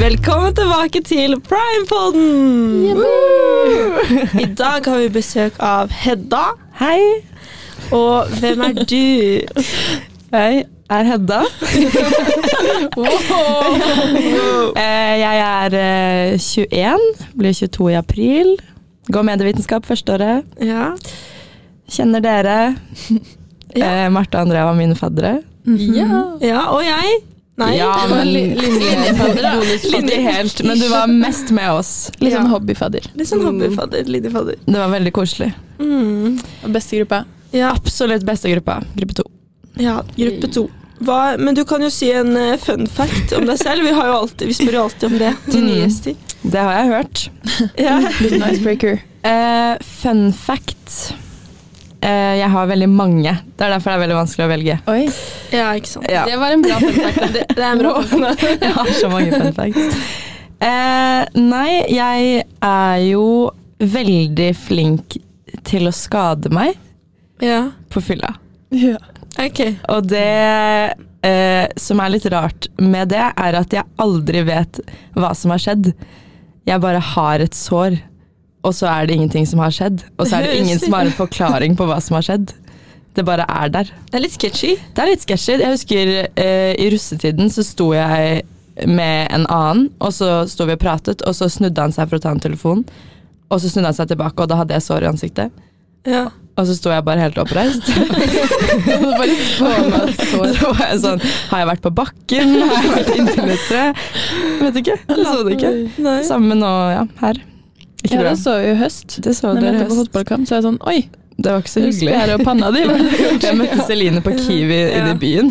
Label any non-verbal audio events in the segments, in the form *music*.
Velkommen tilbake til Primepodden! I dag har vi besøk av Hedda. Hei, Og hvem er du? jeg er *laughs* Hedda. Eh, Jeg er eh, 21, blir 22 i april. Går medievitenskap førsteåret. *laughs* Ja. Kjenner dere. Ja. Eh, Marte og Andrea var mine faddere. Ja. ja. Og jeg? Nei. Ja, men *laughs* ikke Linjefadder. helt, men du var mest med oss. Litt sånn Ja. hobbyfadder. Litt sånn hobbyfadder. Linjefadder. Det var veldig koselig. Mm. Beste gruppa. Ja. Absolutt beste gruppa, gruppe to. ja. Gruppe to. Hva, men du kan jo si en eh, fun fact om deg selv. Vi, har jo alltid, vi spør jo alltid om det til nye Mm. gjester. Det har jeg hørt. Ja. Litt icebreaker. Eh, fun fact. Eh, jeg har veldig mange. Det er derfor det er veldig vanskelig å velge. Oi. ja, ikke sant. Ja. Det var en bra funfact. Det, det er en *laughs* bra fun fact. *laughs* Jeg har så mange fun facts. Eh, nei, jeg er jo veldig flink til å skade meg Ja. på fylla. Ja. Ok. Og det eh, som er litt rart med det, er at jeg aldri vet hva som har skjedd. Jeg bare har et sår, og så er det ingenting som har skjedd. Og så er det ingen som har en forklaring på hva som har skjedd. Det bare er der. Det er litt sketchy. Det er litt sketchy. Jeg husker eh, i russetiden så sto jeg med en annen, og så sto vi og pratet, og så snudde han seg for å ta en telefon. Og så snudde han seg tilbake, og da hadde jeg sår i ansiktet. Ja. Og så sto jeg bare helt oppreist. *laughs* Bare skåne et Og sår. så var jeg sånn Har jeg vært på bakken? Har jeg vært inntil et tre? Vet ikke. Jeg så det ikke. Nei. Samme nå, ja. Her. Ikke Ja, bra. det så jeg jo i høst. Det så Når dere jeg møtte i på høst. fotballkamp, så er jeg sånn Oi, Det var ikke så du hyggelig. spjærer opp *laughs* panna di. Jeg møtte Celine på Kiwi inne Ja. i byen.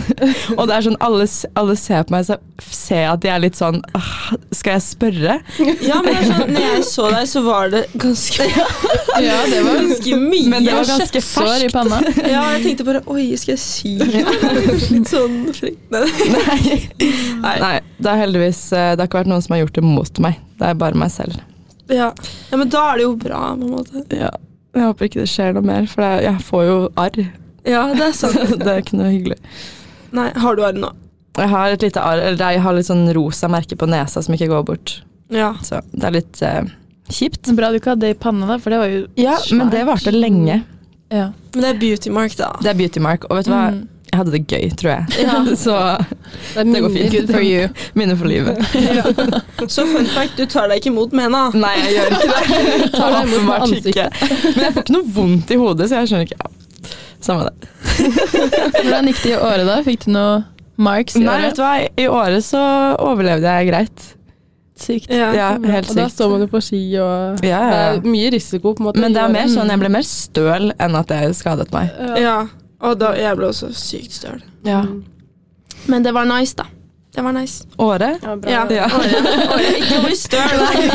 Og det er sånn, alle, s- alle ser på meg så ser jeg at de er litt sånn «Ah, Skal jeg spørre? Ja, men det er sånn, når jeg så deg, så var det ganske Ja, det var ganske mye. Men det Jeg var har ganske kjøttsår i ferskt. panna. *laughs* *laughs* Ja, jeg tenkte bare Oi, skal *laughs* jeg si noe? Litt sånn frykt. Nei, Nei. *laughs* Nei, det har heldigvis eh, det har ikke vært noen som har gjort det mot meg. Det er bare meg selv. nei. Ja. ja, men da er det jo bra, på en måte. Jeg håper ikke det skjer noe mer, for det, jeg får jo arr. *laughs* Ja, det er sant. Det er ikke noe hyggelig. Nei, har du arr nå? Jeg har et lite arr, eller jeg har litt sånn rosa merke på nesa som ikke går bort. Ja. Så det er litt eh, kjipt. Så Bra du ikke hadde det i panna, da, for det var jo Ja, men det svært. varte lenge. Ja. Men det er beauty mark, da. Det er beauty mark, og vet du hva? Mm. Jeg hadde det gøy, tror jeg. *laughs* Ja. Så det går fint. Good for you. Minner Mm, for livet. *laughs* Så fun fact, du tar deg ikke imot med henne. Nei, jeg gjør ikke det. Jeg tar det Tar deg imot med åpenbart ikke. Men jeg får ikke noe vondt i hodet, så jeg skjønner ikke. Ja. Samme det. Hvordan gikk det i året, da? Fikk du noe marks i Nei, vet året? du hva, i året så overlevde jeg greit. Sykt. Ja. Ja, helt Og da sykt. står man Eh, jo på ski og Ja, ja, ja. Det er mye risiko, på en måte. Men det er mer Mm. sånn, jeg ble mer støl enn at jeg skadet meg. ja. Og da, jeg ble også sykt støl. Ja. Men det var nice, da. Det var nice. Året? Ja, bra. Ja. Ja. Året. Året. Ikke bli støl, nei.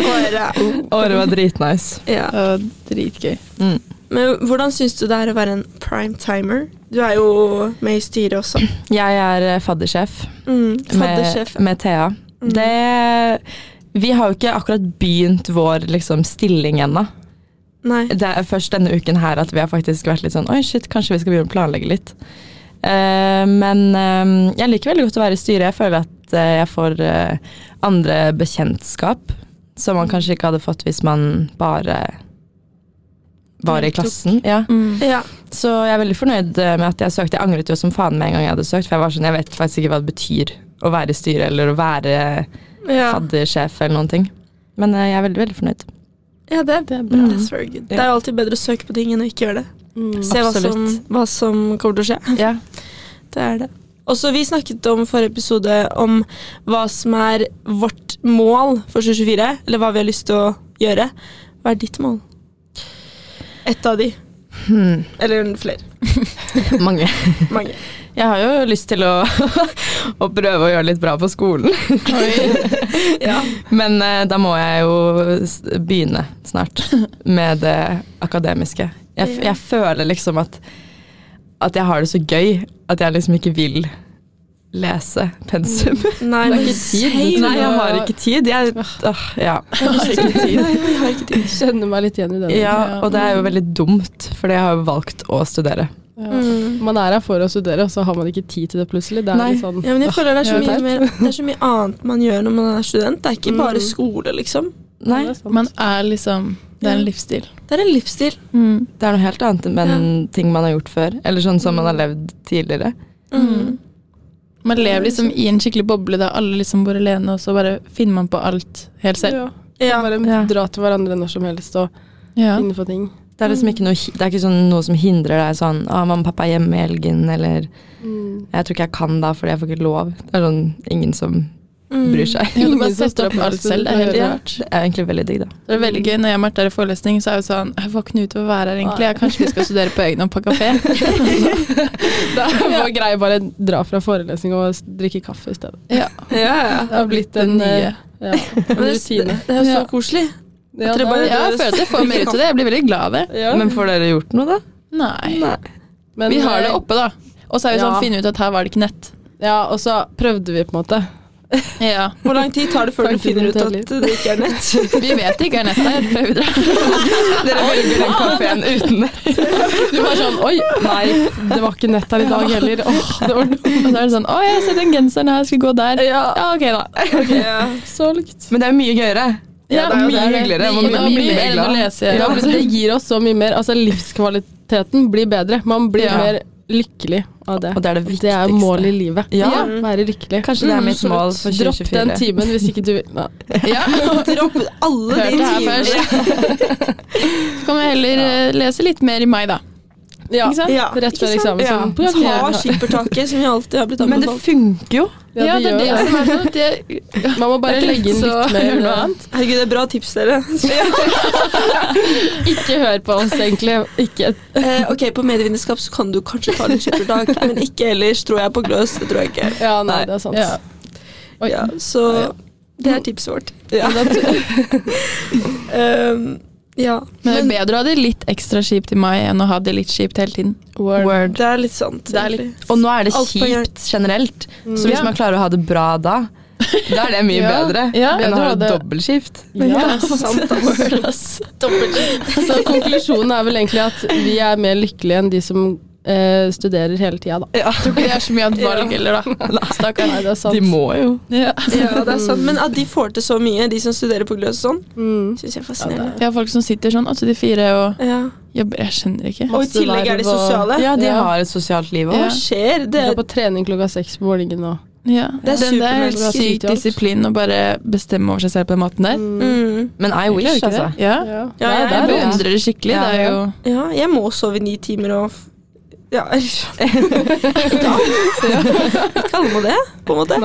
Året. Året var dritnice. Ja. Og dritgøy. Mm. Men hvordan syns du det er å være en prime timer? Du er jo med i styret også. Jeg er eh, faddersjef Mm. med, Faddersjef. med Thea. Mm. Det Vi har jo ikke akkurat begynt vår liksom, stilling ennå. Nei. det er først denne uken her at vi har faktisk vært litt sånn Oi, shit, kanskje vi skal begynne å planlegge litt. Eh, men eh, jeg liker veldig godt å være i styret. Jeg føler at eh, jeg får eh, andre bekjentskap som man kanskje ikke hadde fått hvis man bare var i klassen. Ja. Ja. Så jeg er veldig fornøyd eh, med at jeg søkte. Jeg angret jo som faen med en gang jeg hadde søkt, for jeg var sånn, jeg vet faktisk ikke hva det betyr å være i styret eller å være Ja. faddersjef eller noen ting. Men eh, jeg er veldig, veldig fornøyd. ja, det er bra. bra. That's very good. Det er jo alltid bedre å søke på ting enn å ikke gjøre det. Se hva som, Absolutt. hva som kommer til å skje. *laughs* Ja. Det er det. Og så Vi snakket om forrige episode om hva som er vårt mål for 2024. Eller hva vi har lyst til å gjøre. Hva er ditt mål? Ett av de. Hmm. Eller flere. Mange. Mange. Jeg har jo lyst til å, *laughs* å prøve å gjøre litt bra på skolen, *laughs* Ja. men eh, da må jeg jo s- begynne snart med det akademiske. Jeg, f- Ja. jeg føler liksom at, at jeg har det så gøy at jeg liksom ikke vil lese pensum. Nei, Det er men ikke tid, same. du *laughs* Nei, Nei, jeg har ikke tid. Jeg, åh, ja. jeg har ikke tid. Kjenner meg litt igjen i den. ja, og det er jo veldig dumt, for jeg har jo valgt å studere. Ja. Mm. Man er her for å studere, og så har man ikke tid til det plutselig. Det er Nei. litt sånn Ja, men jeg føler det er, så Ja, mye teit. mer, det er så mye annet man gjør når man er student. Det er ikke bare Mm. skole, liksom. Nei, Ja, det er sant. Man er liksom Det er en livsstil. Det er en livsstil. Mm. det er noe helt annet enn ting man har gjort før. Eller sånn som man har levd tidligere. Mm. Man lever liksom i en skikkelig boble der alle liksom bor alene, og så bare finner man på alt helt selv. Ja. Ja. Bare Ja. dra til hverandre når som helst og *laughs* Ja. finne på ting. Det er liksom ikke noe, hi- det er ikke sånn, noe som hindrer deg sånn Å, mamma og pappa er hjemme i helgen, eller Jeg tror ikke jeg kan da, fordi jeg får ikke lov. Det er sånn ingen som Mm. bryr seg. *laughs* Ja, du Ingen bare som setter opp stopper alt oss, selv. Det er du helt hører. rart. Det er egentlig veldig digg, da. Det er veldig gøy. Når jeg har vært der i forelesning, så er jeg jo sånn Jeg får ikke noe ut av å være her, egentlig. Jeg kanskje vi skal studere på egen hånd på *laughs* kafé. *laughs* Det er vår greie bare dra fra forelesning og s- drikke kaffe i stedet. Ja, Ja, ja. Det har blitt en, nye. eh, *laughs* ja, en Men det, rutine. det er jo så Ja. koselig. Ja, tror det bare- er- Ja, jeg føler at *laughs* jeg får mer ut av det. Jeg blir veldig glad av det. ja. Men får dere gjort noe, da? Nei. Men, Vi har det eh, oppe, da. Og så er vi sånn Ja. finne ut at her var det ikke nett. Ja, og så prøvde vi, på en måte. Ja. Hvor lang tid tar det før du Tanken finner ut til at liv. det ikke er *laughs* nett? *laughs* Vi vet det ikke er nett der før vi drar. Dere velger den kafeen uten det. Du var sånn Oi, nei, det var ikke nett her i dag heller. Åh, det var Og så er det sånn Å, jeg har sett den genseren her, jeg skal gå der. Ja, ok, da. Ja. solgt. Men det er mye gøyere. Ja, det er jo det mye er det. hyggeligere. Det Man gir blir meg mye mye mer mer enn å glad. lese. Ja, men det gir oss så mye mer. Altså, livskvaliteten blir bedre. Man blir Ja. mer lykkelig av det. Og det er det Det er jo viktigste. målet i livet. Ja. Være lykkelig. Kanskje det er Mm, mitt mål for Dropp den 2024. timen hvis ikke du vil Nei. Ja, Dropp alle Hørte de det her timene. først. Så kan vi heller eh, lese litt mer i mai, da. Ja. Ikke sant? Ja. *laughs* Rett før Ikke sant? Ja. eksamen. sånn, på jakt. Ta skippertaket, som vi alltid har blitt Men det anbefalt. funker jo. Ja, det gjør det. som er sånn. at *laughs* jeg- Man må bare Det er legge inn litt så- litt mer Gjør noe annet. Herregud, det er bra tips, *laughs* dere. Ikke hør på oss, egentlig. Ikke Eh, ok, På medievitenskap så kan du kanskje ta litt skippertak, men ikke ellers, tror jeg, på Gløs. Det tror jeg ikke. Ja, nei, Nei. det er sant. Ja. Oi. Ja, så det er tipset vårt. *laughs* Ja. Um, ja. Men det er bedre å ha det litt ekstra kjipt i mai enn å ha det litt kjipt hele *laughs* tiden. Word. det er litt sant. Det er litt- egentlig. Og nå er det Alt på hjørnet. kjipt generelt. Så hvis Ja. man klarer å ha det bra da, da er det mye Ja. bedre Ja. enn å ha Bedre å ha det det- dobbeltskift. Ja. sant, *laughs* Så konklusjonen er vel egentlig at vi er mer lykkelige enn de som eh, studerer hele tida, da. Ja. Tror ikke det er så mye av et valg heller, da. Stakkar. Nei, det er sant. De må jo. *laughs* Ja. Ja, det er sant. Men at de får til så mye, de som studerer på Gløs og sånn, Mm. syns jeg er fascinerende. Jeg har folk som sitter sånn 8 til 4 og Ja. jobber. Jeg skjønner ikke. Og i tillegg er de sosiale. Ja, de Ja. har et sosialt liv Hva òg. Ja. skjer? Det Vi er går på trening klokka seks på morgenen og Ja. Det er Den der er helt supermennesker. syk disiplin å bare bestemme over seg selv på den måten der. mm. mm. Men I wish, altså. Ja. Ja. Ja, Nei, jeg det Jeg er bra. bra. beundrer det skikkelig. Ja. Det er jo Ja, jeg må sove i ni timer og f- Ja, eller Ikke alt. Ikke alle må det, på en måte.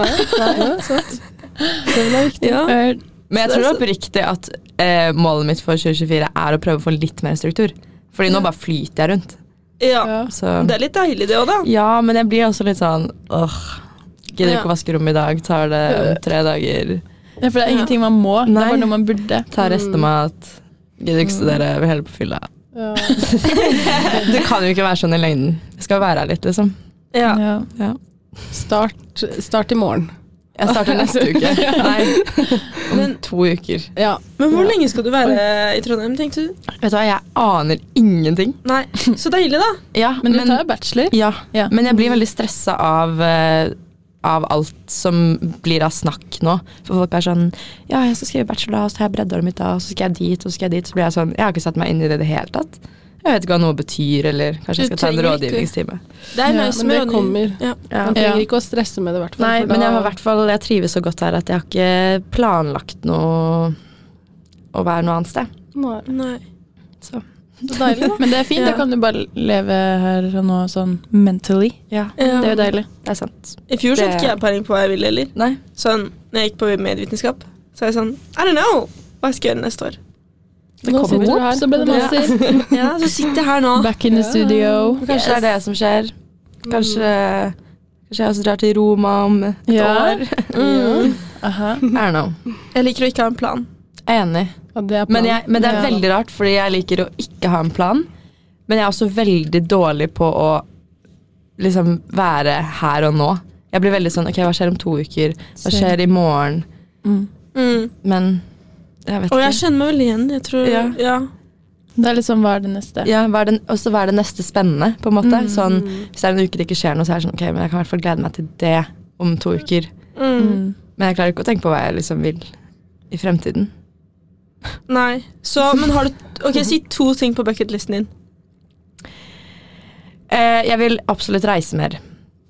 Det er viktig. Ja. Men jeg Så det tror er oppriktig at eh, målet mitt for 2024 er å prøve å få litt mer struktur. Fordi nå bare flyter jeg rundt. ja. Så. Det er litt deilig, det òg, da. Ja, men jeg blir også litt sånn åh, Gidder ikke å vaske rommet i dag. Tar det om tre dager. Ja, for det er ingenting man må. Det Nei. er bare noe man burde. Tar restemat. Gidder ikke studere. Vil heller på fylla. Ja. Det kan jo ikke være sånn i lengden. Jeg skal være her litt, liksom. Ja. Ja. Ja. Start, start i morgen. Jeg starter neste uke. Nei, Men, to uker. Ja. men hvor lenge skal du være i Trondheim, tenkte du? Vet du hva, jeg aner ingenting. Nei, så deilig, da. Ja, Men du tar jo bachelor. ja. Ja. men jeg blir veldig stressa av eh, av alt som blir av snakk nå. For folk er sånn Ja, jeg skal skrive bachelor, da, og så har jeg breddeåret mitt da, og så skal jeg dit, og så skal jeg dit. Så blir jeg sånn Jeg har ikke satt meg inn i det i det hele tatt. Jeg vet ikke hva noe betyr, eller kanskje jeg Du skal ta en trenger ikke- rådgivningstime. Det er Ja, nice men med det rådgivning. kommer. Ja. Ja. Man trenger Ja. ikke å stresse med det, i hvert fall. Nei, for da- men jeg har i hvert fall Jeg trives så godt her at jeg har ikke planlagt noe å være noe annet sted. Nei. Nei. Så Så deilig, da. Men det er fint. Ja. Da kan du bare leve her og nå sånn mentally. ja, Det Ja. er jo deilig. det er sant. I fjor Det- satte ikke jeg peiling på hva jeg ville heller. Nei. Sånn, når jeg gikk på medvitenskap, så er jeg sånn I don't know hva jeg skal gjøre neste år. Det Nå kommer. sitter du her. Så ble det master. Ja, Så sitter jeg her nå. Back in the Ja. studio. Kanskje det er det som skjer. Kanskje, kanskje jeg også drar til Roma om et Mm. Ja. år. *laughs* Mm. Aha. I don't know. Jeg liker å ikke ha en plan. Enig. Ja, det er planen. Men, jeg, men det er Ja. veldig rart, fordi jeg liker å ikke ha en plan. Men jeg er også veldig dårlig på å liksom være her og nå. Jeg blir veldig sånn Ok, hva skjer om to uker? Hva skjer i morgen? Mm. Mm. Men jeg vet Og jeg ikke. kjenner meg veldig igjen. Jeg tror, Ja. ja. Det er liksom hva er det neste? Ja, hva er det, og så hva er det neste spennende, på en måte. Mm. Sånn, hvis det er en uke det ikke skjer noe, så er det sånn, ok, men jeg kan i hvert fall glede meg til det om to uker. Mm. Mm. Men jeg klarer ikke å tenke på hva jeg liksom vil i fremtiden. Nei. Så, men har du Ok, si to ting på bucketlisten din. Eh, jeg vil absolutt reise mer.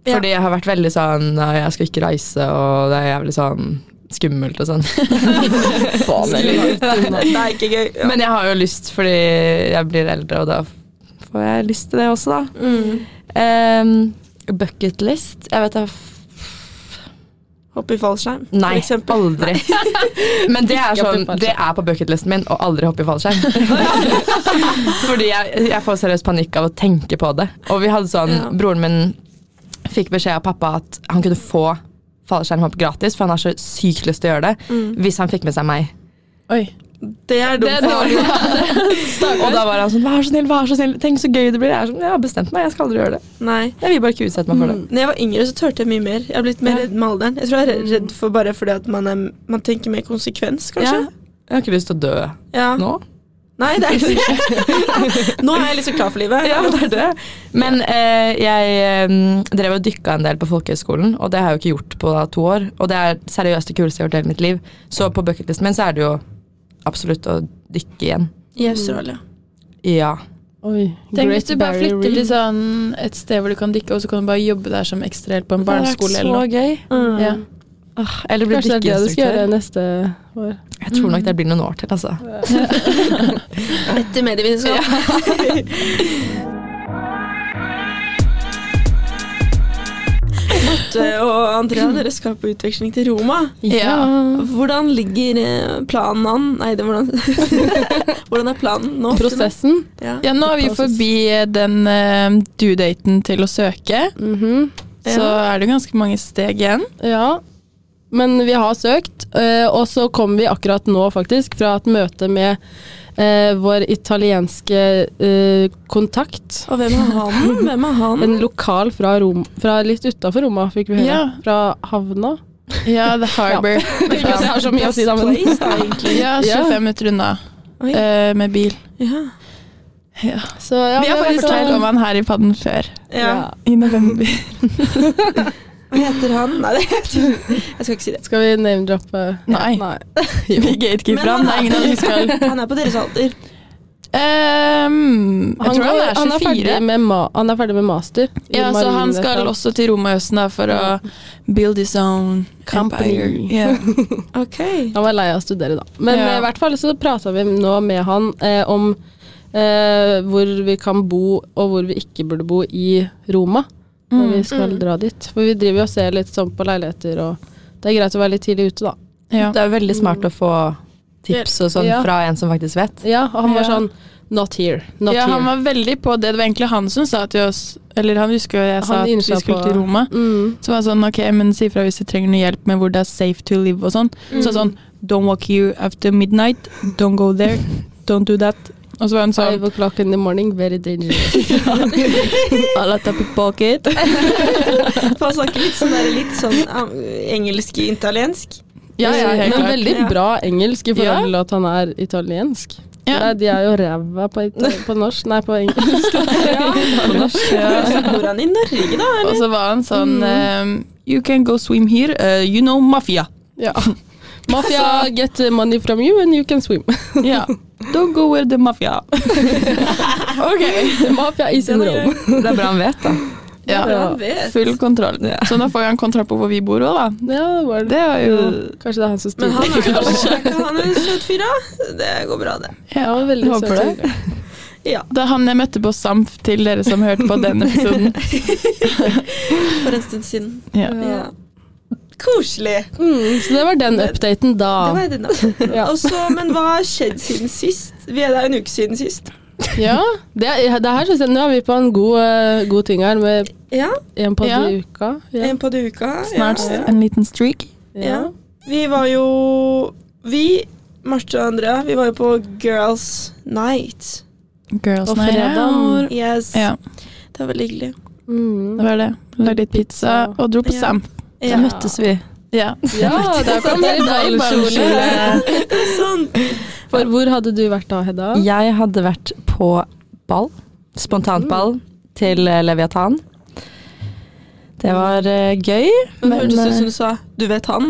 Ja. Fordi jeg har vært veldig sånn, «Nei, jeg skal ikke reise, og det er jævlig sånn skummelt og sånn. Faen, eller? *laughs* Det er ikke gøy. Ja. Men jeg har jo lyst, fordi jeg blir eldre, og da får jeg lyst til det også, da. Mm. Um, bucket list? Jeg vet da f- Hoppe i fallskjerm, Nei, for eksempel. aldri. *laughs* Men det er, Ikke hoppe i sånn, fallskjerm. det er på bucketlisten min å aldri hoppe i fallskjerm. *laughs* Fordi jeg, jeg får seriøst panikk av å tenke på det. Og vi hadde sånn, Ja. broren min fikk beskjed av pappa at han kunne få fallskjermhopp gratis, for han har så sykt lyst til å gjøre det, hvis han fikk med seg meg. Oi. Det er dumt. Det er *laughs* dårlig. Og da var han sånn, vær så snill, vær så snill, tenk så gøy det blir. Jeg er sånn, jeg har bestemt meg, jeg skal aldri gjøre det. Nei. Jeg vil bare ikke utsette meg for det. Når jeg var yngre, så turte jeg mye mer. Jeg har blitt mer Ja. redd med alderen. Jeg tror jeg er redd for bare fordi at man, er, man tenker mer konsekvens, kanskje. Ja. Jeg har ikke lyst til å dø Ja. nå. Nei, det er ikke Nå er jeg liksom klar for livet. *laughs* *laughs* Ja, det er det. Men eh, jeg eh, drev og dykka en del på folkehøyskolen, og det har jeg jo ikke gjort på da, to år. Og det er seriøst det kuleste jeg har gjort i hele mitt liv. Så på bucketlisten min så er det jo absolutt å dykke igjen. I Australia. Ja. Oi, Tenk hvis Great du bare Barrier flytter til Reef. sånn et sted hvor du kan dykke, og så kan du bare jobbe der som ekstrahjelp på en barneskole det eller noe. hadde vært så gøy. Mm. Ja. Åh, eller bli Kanskje det er det du skal Mm. gjøre dykkeinstruktør. neste år. Jeg tror nok det blir noen år til, altså. Etter medievitenskap. Marte og Andrea, dere skal på utveksling til Roma. Ja. Hvordan ligger eh, planen an? Nei, det, hvordan, *laughs* hvordan er planen nå? Prosessen. Ja. Ja, nå er vi jo forbi den uh, due-daten til å søke, Mhm. så er det jo ganske mange steg igjen. Ja. Men vi har søkt, eh, og så kom vi akkurat nå faktisk fra et møte med eh, vår italienske eh, kontakt. Og hvem er han? Hvem er han? En lokal fra, Rom, fra litt utafor Roma, fikk vi høre. Mm. Ja. Fra havna. Ja, The Harbour. Ikke at jeg har så mye å si, da, men Place, da, egentlig. Ja, 25 minutter unna Oi. eh, med bil. *laughs* Ja. Ja. Så, ja, vi det har var faktisk så- snakket om han her i padden før. Ja. I november. Hva heter han? Nei, det jeg skal ikke si det. Skal vi name-droppe? Nei. Nei. Vi gatekeeper han. Det er ingen av oss som skal *laughs* Han er på deres alder. Ehm, Jeg tror han går- er han, er 24. ferdig med ma han er ferdig med master. i Ja, så han marine skal fag. også til Roma i høsten da, for å build his own Company. empire. *laughs* Ja. Ok. Han var lei av å studere, da. Men Ja. eh, i hvert fall så prata vi nå med han eh, om eh, hvor vi kan bo, og hvor vi ikke burde bo i Roma når Mm. vi skal dra dit. For vi driver jo og ser litt sånn på leiligheter, og det er greit å være litt tidlig ute, da. Ja. Det er jo veldig smart å få tips og sånn Ja. fra en som faktisk *laughs* vet. Ja, og han var Ja. sånn Not here. Not ja, here. han var veldig på det. Det var egentlig han som sa til oss Eller han husker jo jeg sa Han at vi innsa skulle på- til Roma. mm. Så var han sånn, ok, men si fra hvis du trenger noe hjelp med hvor det er safe to live og sånn. Så sånn, Mm. don't walk here after midnight, don't go there, don't do that. Og så var han sånn, Five o'clock in the morning, very dangerous. *laughs* *laughs* I'll let up a pocket. For han snakker litt sånn, der, litt sånn um, engelsk-italiensk. Ja, ja, helt Men klart. veldig Ja. bra engelsk i forhold Ja. til at han er italiensk. Nei, Ja. de er jo ræva på, ita- på norsk. Nei, på engelsk. på *laughs* norsk. *laughs* Ja. Så bor han i Norge, da? Og så var han sånn, Mm. ehm, you can go swim here, eh, you know mafia. Ja. Mafia Altså- get money from you and you can *laughs* swim. Ja. Don't go where the mafia. *laughs* ok. Mafia is in Rome. Det er bra han vet, da. Ja, Han vet. full kontroll. Så da får han kontroll på hvor vi bor også da. Ja, det var det. Det er jo... Kanskje det er han som Men styrer. *laughs* han er jo han er en søt fyr, da. Det går bra, det. *laughs* Ja, han var veldig Håper søt. Ja, Da han jeg møtte på Samf til dere som hørte på den *laughs* episoden. for en stund siden. Ja. Ja. Koselig. Mm, så det var den updaten da. Det var den da. Ja. Og så, men hva har skjedd siden sist? Vi er der en uke siden sist. Ja, det, er- det her synes jeg, Nå er vi på en god, eh, god ting her med Ja, en podd Ja. i uka. Ja. en på det uka. Snart Ja. en liten streak. Ja. Vi var jo Vi, Marte og Andrea, vi var jo på Girls Night. Mm, Girls Og night fredag. out. Yes. Ja, Det var veldig hyggelig. Mm. det var det. Lagde litt pizza og dro på Ja. Samf. Så Ja. møttes vi. Ja. *laughs* ja, der kom dere i ballkjole. Sant. For hvor hadde du vært da, Hedda? Jeg hadde vært på ball, spontant ball, til eh, Leviathan. Det var eh, gøy. Men, det hørtes eh, ut som du sa 'du vet han'.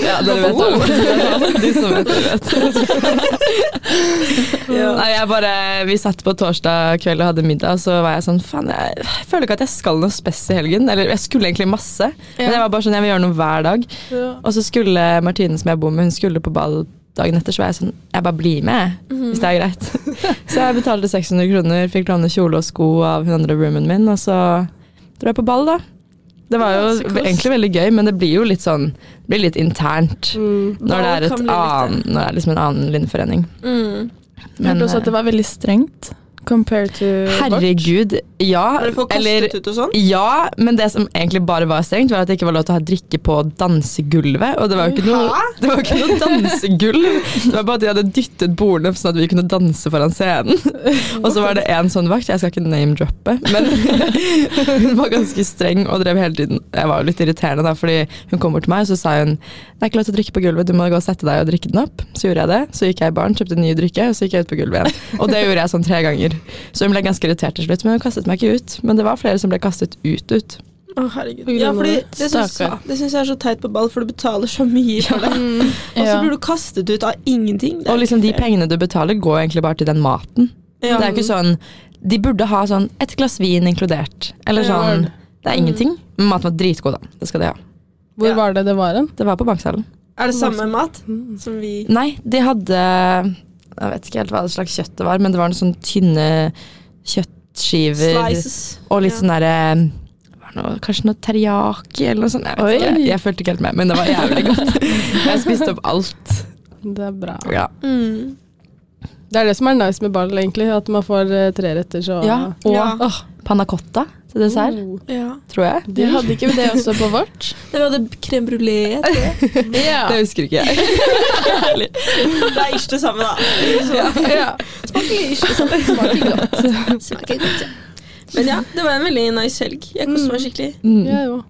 Ja, *laughs* dere vet det. *laughs* De som vet, de vet. *laughs* Nei, jeg bare, vi satt på torsdag kveld og hadde middag, så var jeg sånn Faen, jeg føler ikke at jeg skal noe spes i helgen. Eller jeg skulle egentlig masse, men jeg var bare sånn, jeg vil gjøre noe hver dag. Og så skulle Martine, som jeg bor med, hun skulle på ball dagen etter, så var jeg sånn Jeg bare blir med, Mhm. hvis det er greit. *laughs* Så jeg betalte 600 kroner, fikk låne kjole og sko av hun andre roomien min, og så dro jeg på ball, da. Det var jo egentlig veldig gøy, men det blir jo litt sånn det blir litt internt. Mm. Når det, Ball er kan et bli litt annen, når det er liksom en annen linjeforening. Mm. Jeg hørte også at det var veldig strengt compared to vårt. herregud, ja. Har du fått Eller kastet ut og sånn? ja, men det som egentlig bare var strengt, var at det ikke var lov til å ha drikke på dansegulvet. Og det var jo ikke noe, det var jo ikke noe dansegulv. Det var bare at de hadde dyttet bordene sånn at vi kunne danse foran scenen. Og så var det en sånn vakt, jeg skal ikke name-droppe, men *laughs* hun var ganske streng og drev hele tiden. Jeg var jo litt irriterende da, fordi hun kom bort til meg og så sa hun det er ikke lov til å drikke på gulvet, du må gå og sette deg og drikke den opp. Så gjorde jeg det. Så gikk jeg i baren, kjøpte en ny drikke, og så gikk jeg ut på gulvet igjen. Og det gjorde jeg sånn tre ganger. Så hun ble ganske irritert til slutt, men hun kastet meg ikke ut. Men det var flere som ble kastet ut ut. Å, herregud. På grunn Ja, av fordi det. det syns Stakkar. det syns jeg er så teit på ball, for du betaler så mye for det. Mm. Og så Ja. blir du kastet ut av ingenting. Det er Og liksom de ikke fair. pengene du betaler, går egentlig bare til den maten. Ja. Det er ikke sånn De burde ha sånn et glass vin inkludert. Eller sånn Det Mm. er ingenting. Men Maten var dritgod, da. Det skal de ha. Hvor Ja. var det det var en? Det var på Bankhallen. Er det samme mat som vi Nei, de hadde Jeg vet ikke helt hva slags kjøtt det var, men det var noen sånne tynne kjøttskiver. Slices. Og litt sånn derre var det noe- Kanskje noe teriyaki eller noe sånt. Jeg, vet ikke. jeg fulgte ikke helt med, men det var jævlig *laughs* godt. Jeg spiste opp alt. Det er bra. Ja. Mm. Det er det som er nice med ball, egentlig. At man får eh, treretter, så Ja, Mm. og- Panna cotta til dessert, Oh. Ja. tror jeg. De hadde ikke *laughs* det også på vårt? Dere hadde crème brulé. tror jeg. Ja. Det husker ikke jeg. Det er ikke det samme, *laughs* da. Smaker godt, ja. Men ja, det var en veldig nice helg. Jeg koste meg skikkelig. Mm. Ja, jo.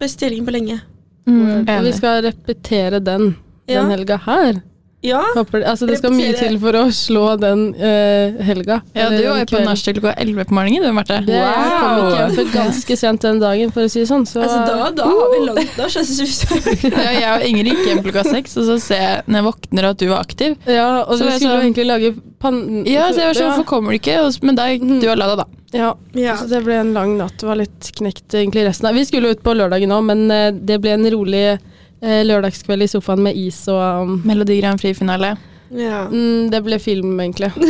Beste helgen på lenge. Mm. Og vi skal repetere den Ja. den helga her. Ja, Håper, det- altså, det skal mye Repetere. til for å slå den eh, helga. Ja, du Eller var jo på kvelden. nachspiel klokka 11 på morgenen, du, Marte. Det jeg kom Wow. ikke hjem før ganske sent den dagen, for å si det sånn. Så altså da, da har vi langt da, synes jeg. Ja, jeg og Ingrid gikk hjem klokka seks, og så ser jeg når jeg våkner at du var aktiv. Ja, og Så vi jeg skulle sa- jo egentlig lage pan... Ja, så jeg var sånn, ja. hvorfor kommer du ikke? Og s- Men da gikk du og la deg, da. Ja, Ja. så det ble en lang natt. Det var litt knekt egentlig resten av Vi skulle jo ut på lørdagen òg, men eh, det ble en rolig eh, lørdagskveld i sofaen med is og um, Melodi Grand Prix-finale. Ja. mm, Det ble film, egentlig. *laughs* Hei.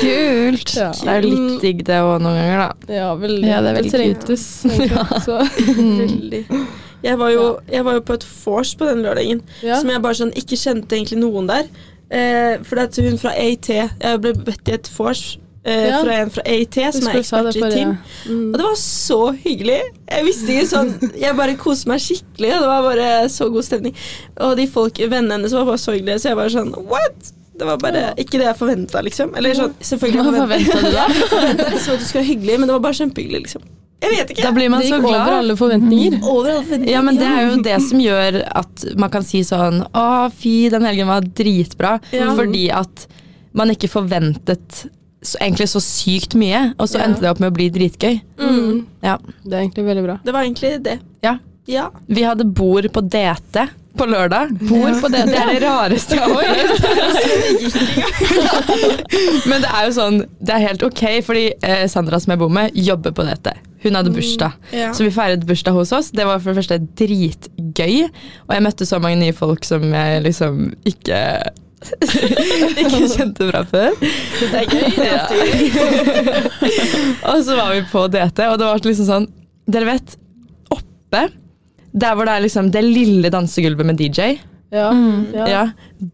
Kult! Ja. Det er jo litt digg det òg noen ganger, da. Ja, vel, Ja, det er veldig trengtes, egentlig. Så, Veldig. Jeg var, jo, jeg var jo på et vors på den lørdagen, ja. som jeg bare sånn ikke kjente egentlig noen der. Eh, for det er hun fra AIT. Jeg ble bedt i et vors eh, Ja. fra en fra AIT, Du som er skulle sa det ekspert i forrige. team. Mm. Og det var så hyggelig. Jeg visste ikke sånn Jeg bare koste meg skikkelig. og Det var bare så god stemning. Og de folk, vennene hennes var bare så hyggelige, så jeg bare sånn What?! Det var bare ikke det jeg forventa, liksom. Eller sånn, selvfølgelig Hva forventa du da? forventa *laughs* jeg liksom at du skulle være hyggelig, men det var bare kjempehyggelig, liksom. Jeg vet ikke. Da blir man Det så gikk over glad. alle forventninger. Over alle forventninger. Ja, men det er jo det som gjør at man kan si sånn Å, fy, den helgen var dritbra. Ja. Fordi at man ikke forventet så, egentlig så sykt mye, og så Ja. endte det opp med å bli dritgøy. Mm. Ja. Det er egentlig veldig bra. Det var egentlig det. ja. Ja. Vi hadde bord på DT på lørdag. Bord på DT? Det er det rareste jeg har *laughs* hørt. Men det er jo sånn, det er helt ok, fordi eh, Sandra som jeg bor med, jobber på DT. Hun hadde bursdag. ja. Så vi feiret bursdag hos oss. Det var for det første dritgøy. Og jeg møtte så mange nye folk som jeg liksom ikke *laughs* ikke kjente fra før. Det er gøy, det. og så var vi på DT, og det var liksom sånn Dere vet, oppe der hvor det er liksom det lille dansegulvet med DJ. Ja. Ja. Mm. Ja.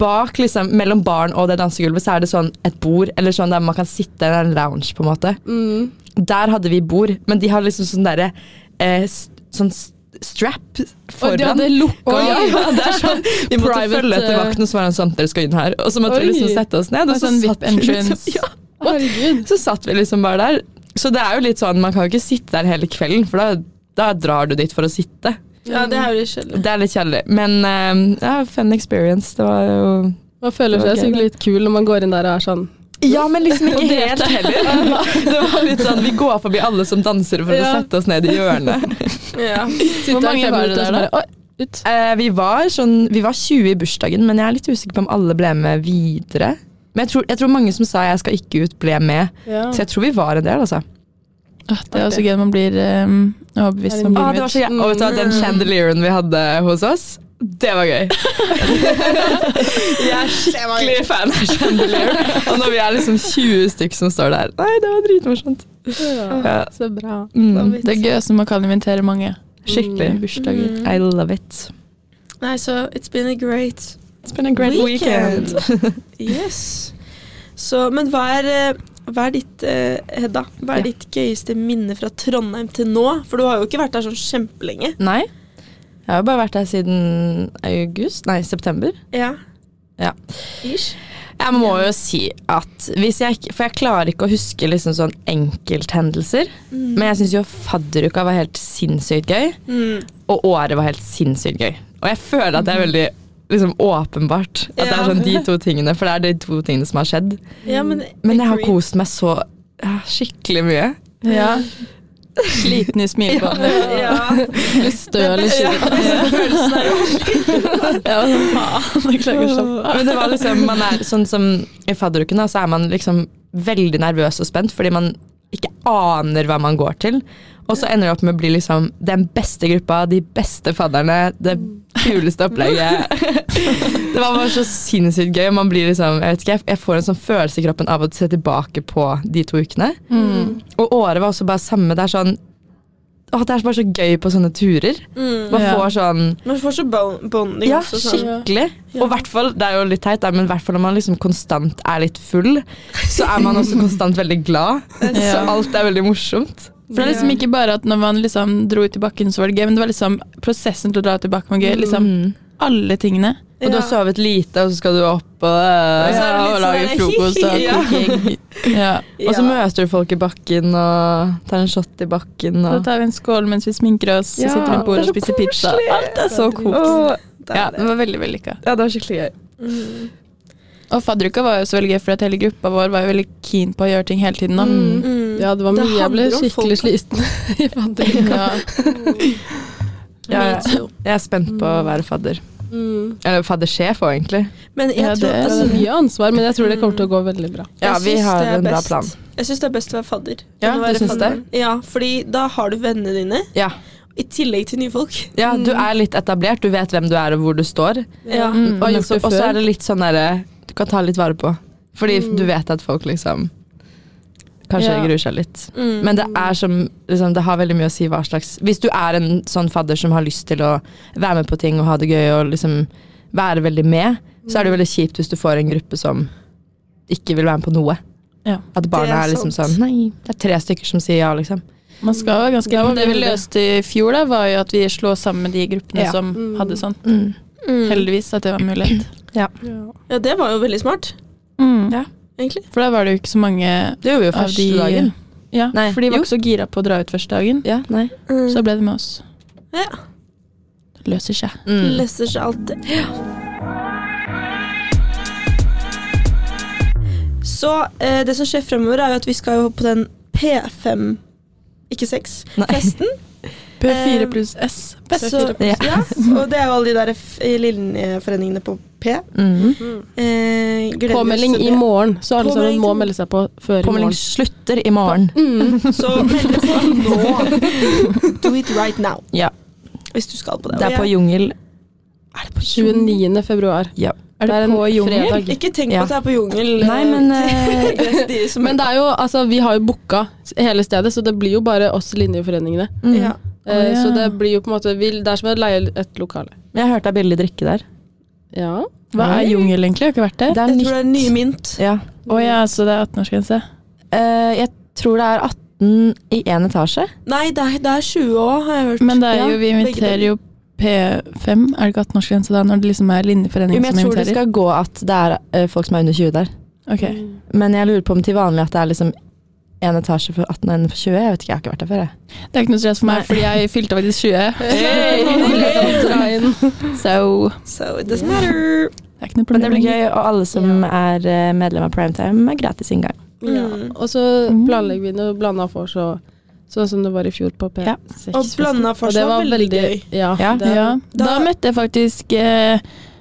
Bak liksom, Mellom baren og det dansegulvet så er det sånn et bord eller sånn der man kan sitte i en lounge. på en måte. Mm. Der hadde vi bord, men de hadde liksom sånn derre eh, s- sånn s- strap foran. Og de hadde lukka Å, ja, ja, det er *laughs* sånn, vi måtte Private, følge etter eh, vakten, og så var han sånn Dere skal inn her. Og så måtte vi Oi. liksom sette oss ned. Og Altså så en satt VIP vi liksom- *laughs* entrance. Ja, Herregud. så satt vi liksom bare der. Så det er jo litt sånn, man kan jo ikke sitte der hele kvelden, for da, da drar du dit for å sitte. Ja, det er jo litt kjedelig. Det er litt kjedelig, men eh, ja, fun experience. Det var jo Man føler Det var seg gøy, sikkert litt kul når man går inn der og er sånn Ja, men liksom ikke helt *laughs* heller. Det var litt sånn, Vi går forbi alle som danser for å Ja. sette oss ned i *laughs* hjørnet. Ja. Sitter mange her fem var det minutter, og der, så bare, «Oi, ut. Eh, vi, var sånn, vi var 20 i bursdagen, men jeg er litt usikker på om alle ble med videre. Men jeg tror, jeg tror mange som sa 'jeg skal ikke ut', ble med. Ja. Så jeg tror vi var en del, altså. Ah, det er også gøy når man blir um, overbevist om Ah, livet. det var så Mm. gøy. Og vet du hva, den chandelieren vi hadde hos oss, det var *laughs* gøy. jeg er skikkelig fan av chandelier. Og når vi er liksom 20 stykk som står der Nei, det var dritmorsomt. Ja. Så *laughs* bra. Mm, Det er gøy som man kan invitere mange skikkelig. bursdager. Mm. I love it. Nei, så it's been a great It's been a great Weekend. weekend. Yes. Så, men hva er, eh, hva er ditt eh, Hedda, hva er Ja. ditt gøyeste minne fra Trondheim til nå? For du har jo ikke vært der sånn kjempelenge. *laughs* Nei. Jeg har jo bare vært der siden august, nei, september. Ja. Ja. Ish. Jeg må jo si at hvis jeg, ikke- For jeg klarer ikke å huske liksom sånn enkelthendelser. Men jeg syns jo fadderuka var helt sinnssykt gøy. Mm. Og året var helt sinnssykt gøy. Og jeg føler at det er veldig liksom, åpenbart at det er Ja. sånn de to tingene. For det er de to tingene som har skjedd. ja, men Mm. Men jeg har Agreed. kost meg så ja, skikkelig mye. Ja. Sliten i *laughs* smilebåndet. Ja. Litt støl *laughs* i *laughs* skyggen. Følelsen er jo Jeg klager sånn. Men det var liksom, man er sånn som i fadderuken, da, så er man liksom veldig nervøs og spent fordi man ikke aner hva man går til. Og så ender det opp med å bli liksom den beste gruppa, de beste fadderne, det kuleste opplegget. *laughs* Det var bare så sinnssykt gøy. og Man blir liksom, jeg vet ikke, jeg- jeg får en sånn følelse i kroppen av å se tilbake på de to ukene. Og året var også bare samme. Det er sånn Åh, det er bare så gøy på sånne turer. Man Ja. får sånn Man Mm. får så bo- bonding ja, også. Sånn. skikkelig. Ja. Og hvert fall, det er jo litt teit, da, men hvert fall når man liksom konstant er litt full, så er man også konstant veldig glad. Så Ja. alt er veldig morsomt. For det er liksom ikke bare at når man liksom dro ut i bakken, så var det gøy, men det var liksom prosessen til å dra ut i bakken var gøy. Liksom Mm. alle tingene. Og du har sovet lite, og så skal du opp og, så er det litt og lage sånn der, frokost. Og, *laughs* Ja. Koking. Ja. Ja. og så møter du folk i bakken og tar en shot i bakken. Så Og, tar vi en skål mens vi sminker oss, så Ja, sitter vi på bordet det er så og spiser pizza. koselig. Alt er så koselig. og, Det er Ja, det. det var veldig vellykka. ja, det var skikkelig gøy. Mm. Og fadderuka var jo så veldig gøy, for at hele gruppa vår var jo veldig keen på å gjøre ting hele tiden. Da. Mm. Ja, det var Det mye. Jeg ble handler om skikkelig sliten *laughs* i fadderuka. Ja. Ja, Me ja. too. Jeg er spent på å være fadder. Mm. Eller faddersjef òg, egentlig. Men jeg Ja, tror det er Det altså, er mye ansvar, men jeg tror det kommer til å gå veldig bra. Jeg Ja, vi syns har det er en bra best. plan. Jeg syns det er best å være fadder. Ja, enn du å være syns det? fadder. Ja, fordi da har du vennene dine, Ja. i tillegg til nye folk. ja, du er litt etablert. Du vet hvem du er og hvor du står. Ja. Mm. Og gjort også, det før. også er det litt sånn derre Du kan ta litt vare på. Fordi du vet at folk liksom Kanskje Ja. gruer seg litt. Mm. Men det er som liksom, Det har veldig mye å si hva slags Hvis du er en sånn fadder som har lyst til å være med på ting og ha det gøy og liksom være veldig med, så er det jo veldig kjipt hvis du får en gruppe som ikke vil være med på noe. Ja. At barna Det er, er liksom sant. sånn Nei, det er tre stykker som sier ja, liksom. *laughs* Man skal være ganske Ja, glad. man Det vi blir det. løste i fjor, da, var jo at vi slo sammen de gruppene Ja. som Mm. hadde sånn. Mm. Mm. Heldigvis at det var mulighet. Ja, det var jo veldig smart, *clears throat* Mm. egentlig. For da var det jo ikke så mange Det gjorde vi jo av første de dagen. Ja, Nei, for de var jo. ikke så gira på å dra ut første dagen. Ja, nei. Mm. Så da ble det med oss. Ja. Det løser seg. Mm. Leser seg alltid. Så eh, det som skjer fremover, er jo at vi skal jo på den P5 ikke 6 Nei. festen. P4 Eh, pluss S. Best. *laughs* Så, Ja. ja, og det er jo alle de der f- linjeforeningene på P. Mm. Eh, gleder Påmelding oss til i det. morgen, så alle Påmelding sammen må til- melde seg på før i Påmelding morgen. slutter i morgen. Så meld deg på nå. Do it right now. Ja. Hvis du skal på det. Det er Og på jeg- Jungel. er det på jungel? 29. februar. Ja. Er det, er en på jungel? fredag. Ikke tenk på Ja. at det er på jungel. Nei, men eh, *laughs* Det er de som- Men det er jo, altså, vi har jo booka hele stedet, så det blir jo bare oss linjeforeningene. mm. ja. Eh, Å, ja. Så det blir jo på en måte vi, Det er som å leie et lokale. Jeg hørte det er billig drikke der. Ja. Hva er jungel, egentlig? Jeg har ikke vært der. Det er Jeg nytt. tror det er ny mynt. Ja. Å ja, så det er 18-årsgrense. Eh, jeg tror det er 18 i én etasje. Nei, det er, det er 20 år, har jeg hørt. Men det er Ja, jo, vi begge inviterer jo P5. Er det ikke 18-årsgrense da, når det liksom er Jo, linjeforeningen men som jeg tror det inviterer? skal gå at det er eh, folk som er under 20 der. Ok. *laughs* Men jeg lurer på om til vanlig at det er liksom én etasje for 18 og en for 20. Jeg vet ikke, jeg har ikke vært der før, jeg. Det er ikke noe stress for meg, fordi jeg fylte faktisk *laughs* 20. So So it doesn't matter. det er ikke Men det noe problem. blir gøy, og alle som er eh, medlem av Primetime, er gratis inngang. Ja. Og så Mm. planlegger vi noe blanda vors og sånn som det var i fjor på Ja. P6. Og blanda vors var veldig gøy. Ja, Ja. det- Ja. Da, Da- møtte jeg faktisk eh,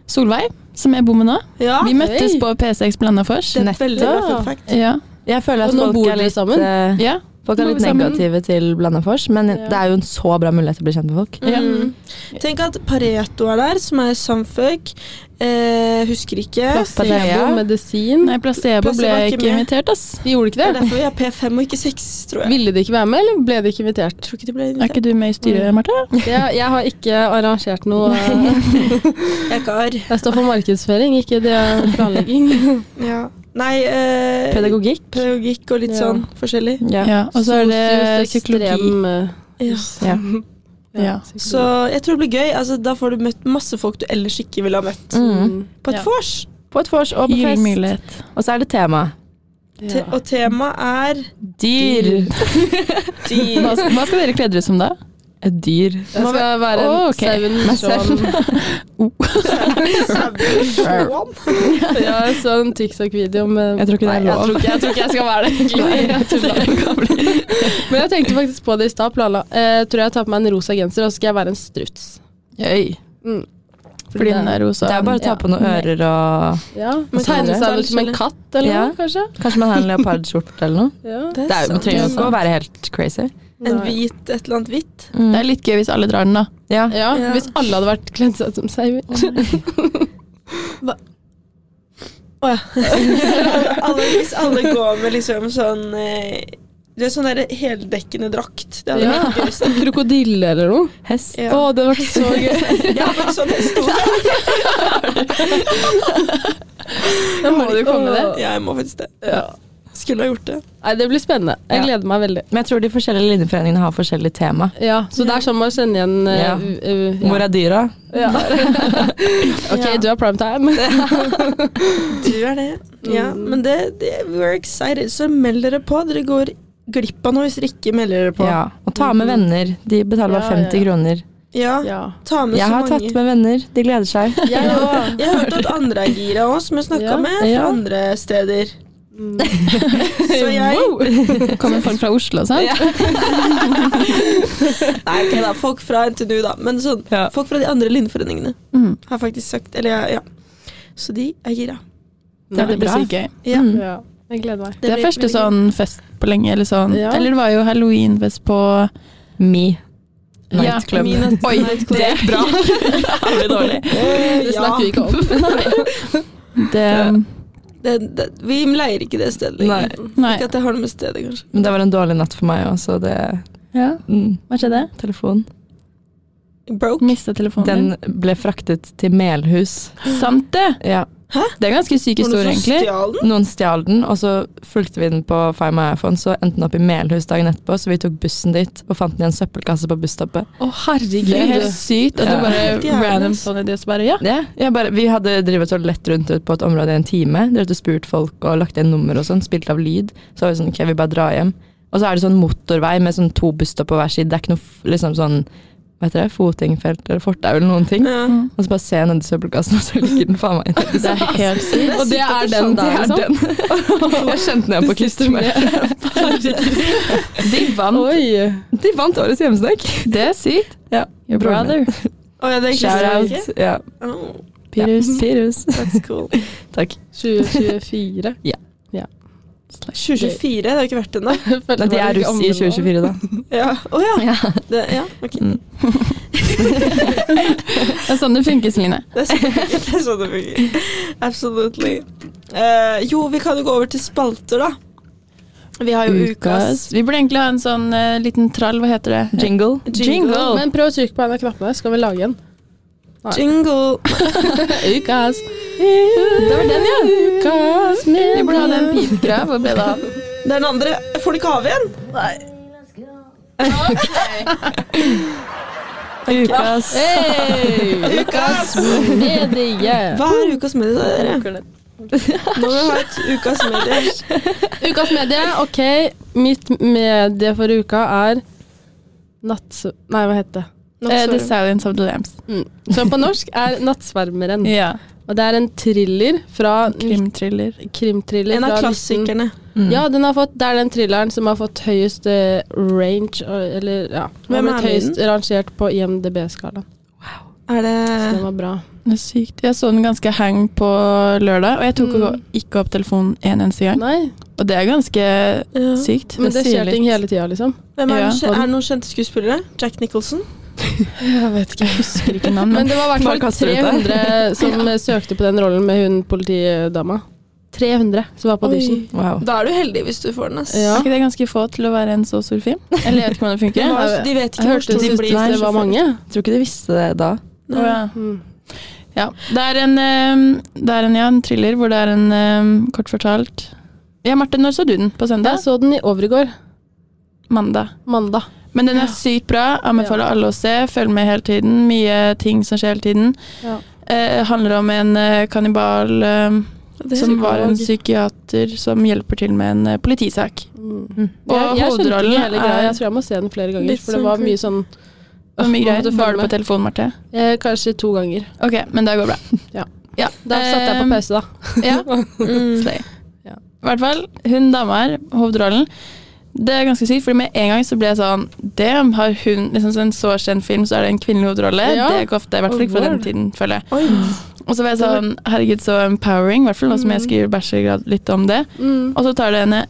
Solveig, som jeg bor med nå. Ja, Vi møttes Hei. på P6 Blandafors. det er veldig bra Nettopp. fun fact. Ja. Jeg føler at Og nå folk bor er dere litt, sammen? eh, ja. folk Nå er bor litt vi sammen. negative til Blandafors, men Ja. det er jo en så bra mulighet til å bli kjent med folk. Ja. Mm. Tenk at Pareto er der, som er Samføk. Eh, husker ikke. Placebo, Pattaya. medisin Nei, placebo Placebo ble er jeg ikke ikke med. invitert, ass. De gjorde ikke Det er det? derfor vi har P5 og ikke 6, tror jeg. Ville de ikke være med, eller ble de ikke *laughs* Jeg invitert? tror ikke de ble Er invitert. ikke du med i styret, Martha? Jeg, jeg har ikke arrangert noe. eh, Jeg har. Jeg står for markedsføring, ikke det planlegging. Ja. Nei, eh, Pedagogikk. pedagogikk og litt Ja. sånn forskjellig. Ja. Ja, og så er det Sosius psykologi. ekstrem, eh, Ja. Ja. Ja. psykologi. Så jeg tror det blir gøy. Altså, da får du møtt masse folk du ellers ikke ville ha møtt. Mm. På et Ja. vors. På et vors og på Gyllen fest. mulighet. Og så er det tema. Te Ja. og temaet er Dyr. dyr. Hva, hva skal dere kle dere som da? Et dyr. Jeg skal være en Å, ok. sauen sånn. *laughs* Ja, jeg så en TikTok-video med Jeg tror ikke det er Nei, jeg lov. tror ikke- Jeg tror ikke jeg skal være *laughs* det, egentlig. Jeg tuller. *laughs* Men jeg tenkte faktisk på det i stad. planla. Eh, tror jeg tar på meg en rosa genser, og så skal jeg være en struts. Gøy. Fordi den er rosa. sånn, Det er jo bare å ta på noen ører og Ja, Men Tegne seg tegne ut som en seg, katt eller Ja. noe, kanskje? Kanskje man har en leopardskjorte eller noe. Ja. Det sånn. Det er, jo- man trenger jo sant. ikke å være helt crazy. En Nei. hvit, et eller annet hvitt. *laughs* Mm. Det er litt gøy hvis alle drar den, da. Ja. Ja, Ja. Hvis alle hadde vært kledd seg ut som sauer. Å ja. alle, hvis alle går med liksom sånn eh, Det er sånn der heldekkende drakt. Det hadde Ja. vært gøyest. Krokodille eller noe. Hest. Ja. Å, det hadde vært så gøy. *laughs* Jeg har faktisk sånn hestehode. *laughs* Da må du komme med det. Ja, jeg må faktisk det. Skulle ha gjort det. Nei, det blir spennende. Jeg gleder meg veldig. Men jeg tror de forskjellige linjeforeningene har forskjellig tema. Ja, Så det er sånn man kjenner igjen eh, Ja. u- u- ja. Hvor er dyra? Ja. *laughs* Ja. ok, du er prime time. *laughs* Du er det. Ja, Mm. men det, det we're excited. Så meld dere på. Dere går glipp av noe hvis dere ikke melder dere på. Ja. Og ta med venner. De betaler bare Ja, ja, ja. 50 kroner. Ja, Ja. ta med Jeg så har mange. tatt med venner. De gleder seg. *laughs* Jeg òg. Jeg har hørt at andre er gira òg, som jeg snakka Ja, med fra ja. andre steder. Mm. Så jeg Kommer folk fra Oslo og sånn? Nei, ok da, folk fra NTNU, da. Men sånn, Ja. folk fra de andre linjeforeningene Mm. har faktisk sagt Eller ja. Så de er gira. Det blir bra. sykt gøy. Ja. Mm. Ja, jeg gleder meg. Det er blir første veldig gøy. *laughs* sånn fest på lenge, eller sånn. Ja. Eller det var jo halloweenfest på Me. Ja, Nightclub. min nightclub. Oi, det er bra. Aldri dårlig. *laughs* Eh, Det ja. snakker vi ikke om. det, det, det, Vi leier ikke det stedet Nei. lenger. Nei. Ikke at det har noe med stedet, kanskje. *laughs* Men det var en dårlig natt for meg òg, så det Ja. mm, Hva skjedde? Telefon. Broke. Mista telefonen din. Den ble fraktet til Melhus. Sant det! Ja. Det er ganske syk Var det historie, noen som egentlig. stjal den? Noen stjal den, og så fulgte vi den på Find My iPhone. Så endte den opp i Melhus dagen etterpå, så vi tok bussen dit og fant den i en søppelkasse på busstoppet. Å, Det er helt herregud. sykt at Ja. du bare Helt jævlig. random sånn idé, så bare ja. Ja, jeg bare, vi hadde drevet og lett rundt ut på et område i en time. Drevet og spurt folk og lagt igjen nummer og sånn. Spilt av lyd. Så var vi sånn, ok, vi bare drar hjem. Og så er det sånn motorvei med sånn to busstopp på hver side. Det er ikke noe f- liksom sånn hva heter det, fotingfelt eller fortau eller noen ting. Ja. Og så bare ser jeg nedi søppelkassen, og så ligger den faen meg *laughs* inn. Det er helt sykt. Og det er den Det der, er liksom? den. Jeg kjente den igjen på klistremerket. *laughs* De, vant- Oi. de vant årets hjemmesnekk. Det er sykt. Ja. Your brother. Å ja, det er Shout ikke out. Ja. Oh, Pyrus. Ja. Pyrus. That's cool. Takk. 2024. Slash. 2024, det har ikke vært ennå. Nei, de er russ i 2024, da. Ja. Å ja. Ja. Det, ja. ok. Det er sånn det funker, Celine. Det er sånn det fungerer. Det er sånn det fungerer. Absolutely. Eh, jo, vi kan jo gå over til spalter, da. Vi har jo ukas Vi burde egentlig ha en sånn eh, liten trall, hva heter det? Jingle. Jingle. Men prøv å trykke på en av knappene, så kan vi lage en. Jingle. Ukas. Det var den, ja! Ukas med Vi burde ha den pipgreia. Hvor ble det av? Det er den andre. Får du ikke av igjen? Ukas Hey, Ukas medie. Hva er ukas medie, dere? Nå må vi ha et ukas medier. Ukas medie, ok. Mitt medie for uka er natts... Nei, hva heter det? Eh, Nattsverm. the Silence of the Lambs. Mm. Som på norsk er 'Nattsvermeren'. Ja. Og det er en thriller fra Krimthriller. Krimthriller. En av fra 19 klassikerne. Mm. Ja, den har fått, det er den thrilleren som har fått høyest eh, range, og- eller ja Den har Hvem er blitt med i høyest rangert på IMDb-skalaen. Er Så den det var bra. Det er sykt. Jeg så den ganske hang på lørdag, og jeg tok Mm. ikke opp telefonen en eneste gang. Nei, Og det er ganske ja. sykt. men det sier skjer litt. ting hele tida, liksom. Hvem er, Ja. det, er det noen kjente skuespillere? Jack Nicholson? Jeg vet ikke. *laughs* Jeg husker *laughs* ikke Men navn, men det var i Bare hvert fall kaster ut det. 300 *laughs* som eh, søkte på den rollen med hun politidama. 300 som var på audition. Oi. Wow. Da er du heldig hvis du får den. ass. Ja. er ikke det ganske få til å være en så stor film? Eller jeg vet ikke hvordan det De, *laughs* funker. har, de vet Jeg ikke hvor hørte stor de sist blir. det var mange. Jeg tror ikke de visste det da. Nei. Å, ja. Mm. Ja. Det er en, ehm, det er en, ja, en thriller hvor det er en ehm, kort fortalt Ja, Marte, når så du den? På Jeg søndag? så den i overgård. Mandag. Mandag. Men den er sykt bra. Anbefaler alle å se. Følg med hele tiden. Mye ting som skjer hele tiden. Ja. Eh, handler om en eh, kannibal ehm, er som var en psykolog. psykiater som hjelper til med en eh, politisak. Mm. Og Jeg, jeg skjønte hovedrollen ikke hele greia. er- Jeg tror jeg må se den flere ganger. Litt For det sånn var mye creepy. sånn Det var mye Nå måtte greier. du følge Var du med. på telefonen, Marte? eh, Kanskje to ganger. Ok, men det går bra. Ja. ja. Da satte jeg på Ehm, pause, da. Ja. Mm. Slay. I hvert fall, hun dama her, hovedrollen, det er ganske sykt, for med en gang så ble jeg sånn Damn, har hun liksom en så kjent film, så er det en kvinnelig hovedrolle? Ja. Det er ikke ofte, i hvert fall Oh, ikke fra den word. tiden, føler jeg. Oi. Og så var jeg sånn, herregud, så empowering, i hvert fall nå som jeg skriver bachelorgrad litt om det. Mm. Og så tar det henne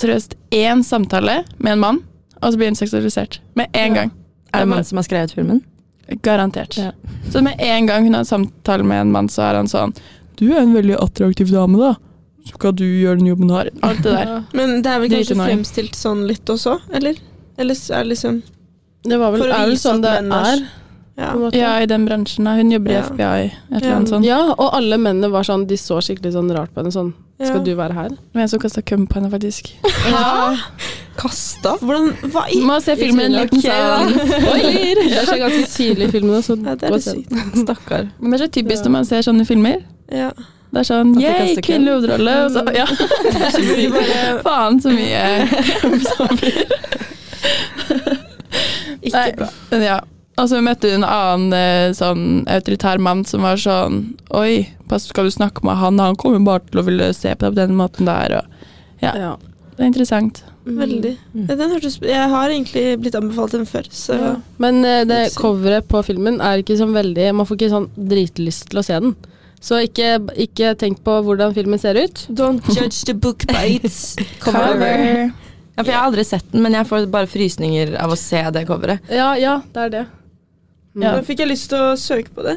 seriøst én samtale med en mann, og så blir hun seksualisert. Med en gang. Er det Jeg bare- mannen som har skrevet filmen? Garantert. Ja. Så med en gang hun har en samtale med en mann, så er han sånn Du er en veldig attraktiv dame, da. Skal du gjøre den jobben du har? Alt det der. Ja. Men det er vel kanskje Dritenøye. fremstilt sånn litt også, eller? Eller så er det liksom Det var vel For å er vel vise sånn at det menn er- er. Ja. På en måte. Ja, sånn. i den bransjen. da. Hun jobber i Ja. FBI, et eller Ja. annet sånt. Ja, og alle mennene var sånn, de så skikkelig sånn rart på henne. Sånn, skal du være her? Men jeg så kasta køm på henne, faktisk. Kasta? Hvordan Hva i *laughs* Må se filmen en liten Ok, da. sånn. Spoiler! Det skjer ganske tidlig i filmen. også, ja, Det er litt gå og se den. sykt. Stakkar. Men det er så typisk når man ser sånne filmer. Ja. Det er sånn At de yeah, kaster køm. kvinnelig hovedrolle, og *laughs* så Ja. Så blir det bare Faen, så mye ikke Nei, bra. men ja. Og så møtte hun en annen eh, sånn autoritær mann som var sånn Oi, pass, skal du snakke med han? Han kommer bare til å ville se på deg på den måten der. Og Ja. det er interessant. Veldig. Mm. Ja, Den hørtes Jeg har egentlig blitt anbefalt den før, så Ja. Men eh, det Litt sykt. coveret på filmen er ikke sånn veldig Man får ikke sånn dritlyst til å se den. Så ikke, ikke tenk på hvordan filmen ser ut. Don't judge the book by *laughs* its cover. Ja, for jeg har aldri sett den, men jeg får bare frysninger av å se det coveret. Ja, ja, det er det. Ja. Nå fikk jeg lyst til å søke på det.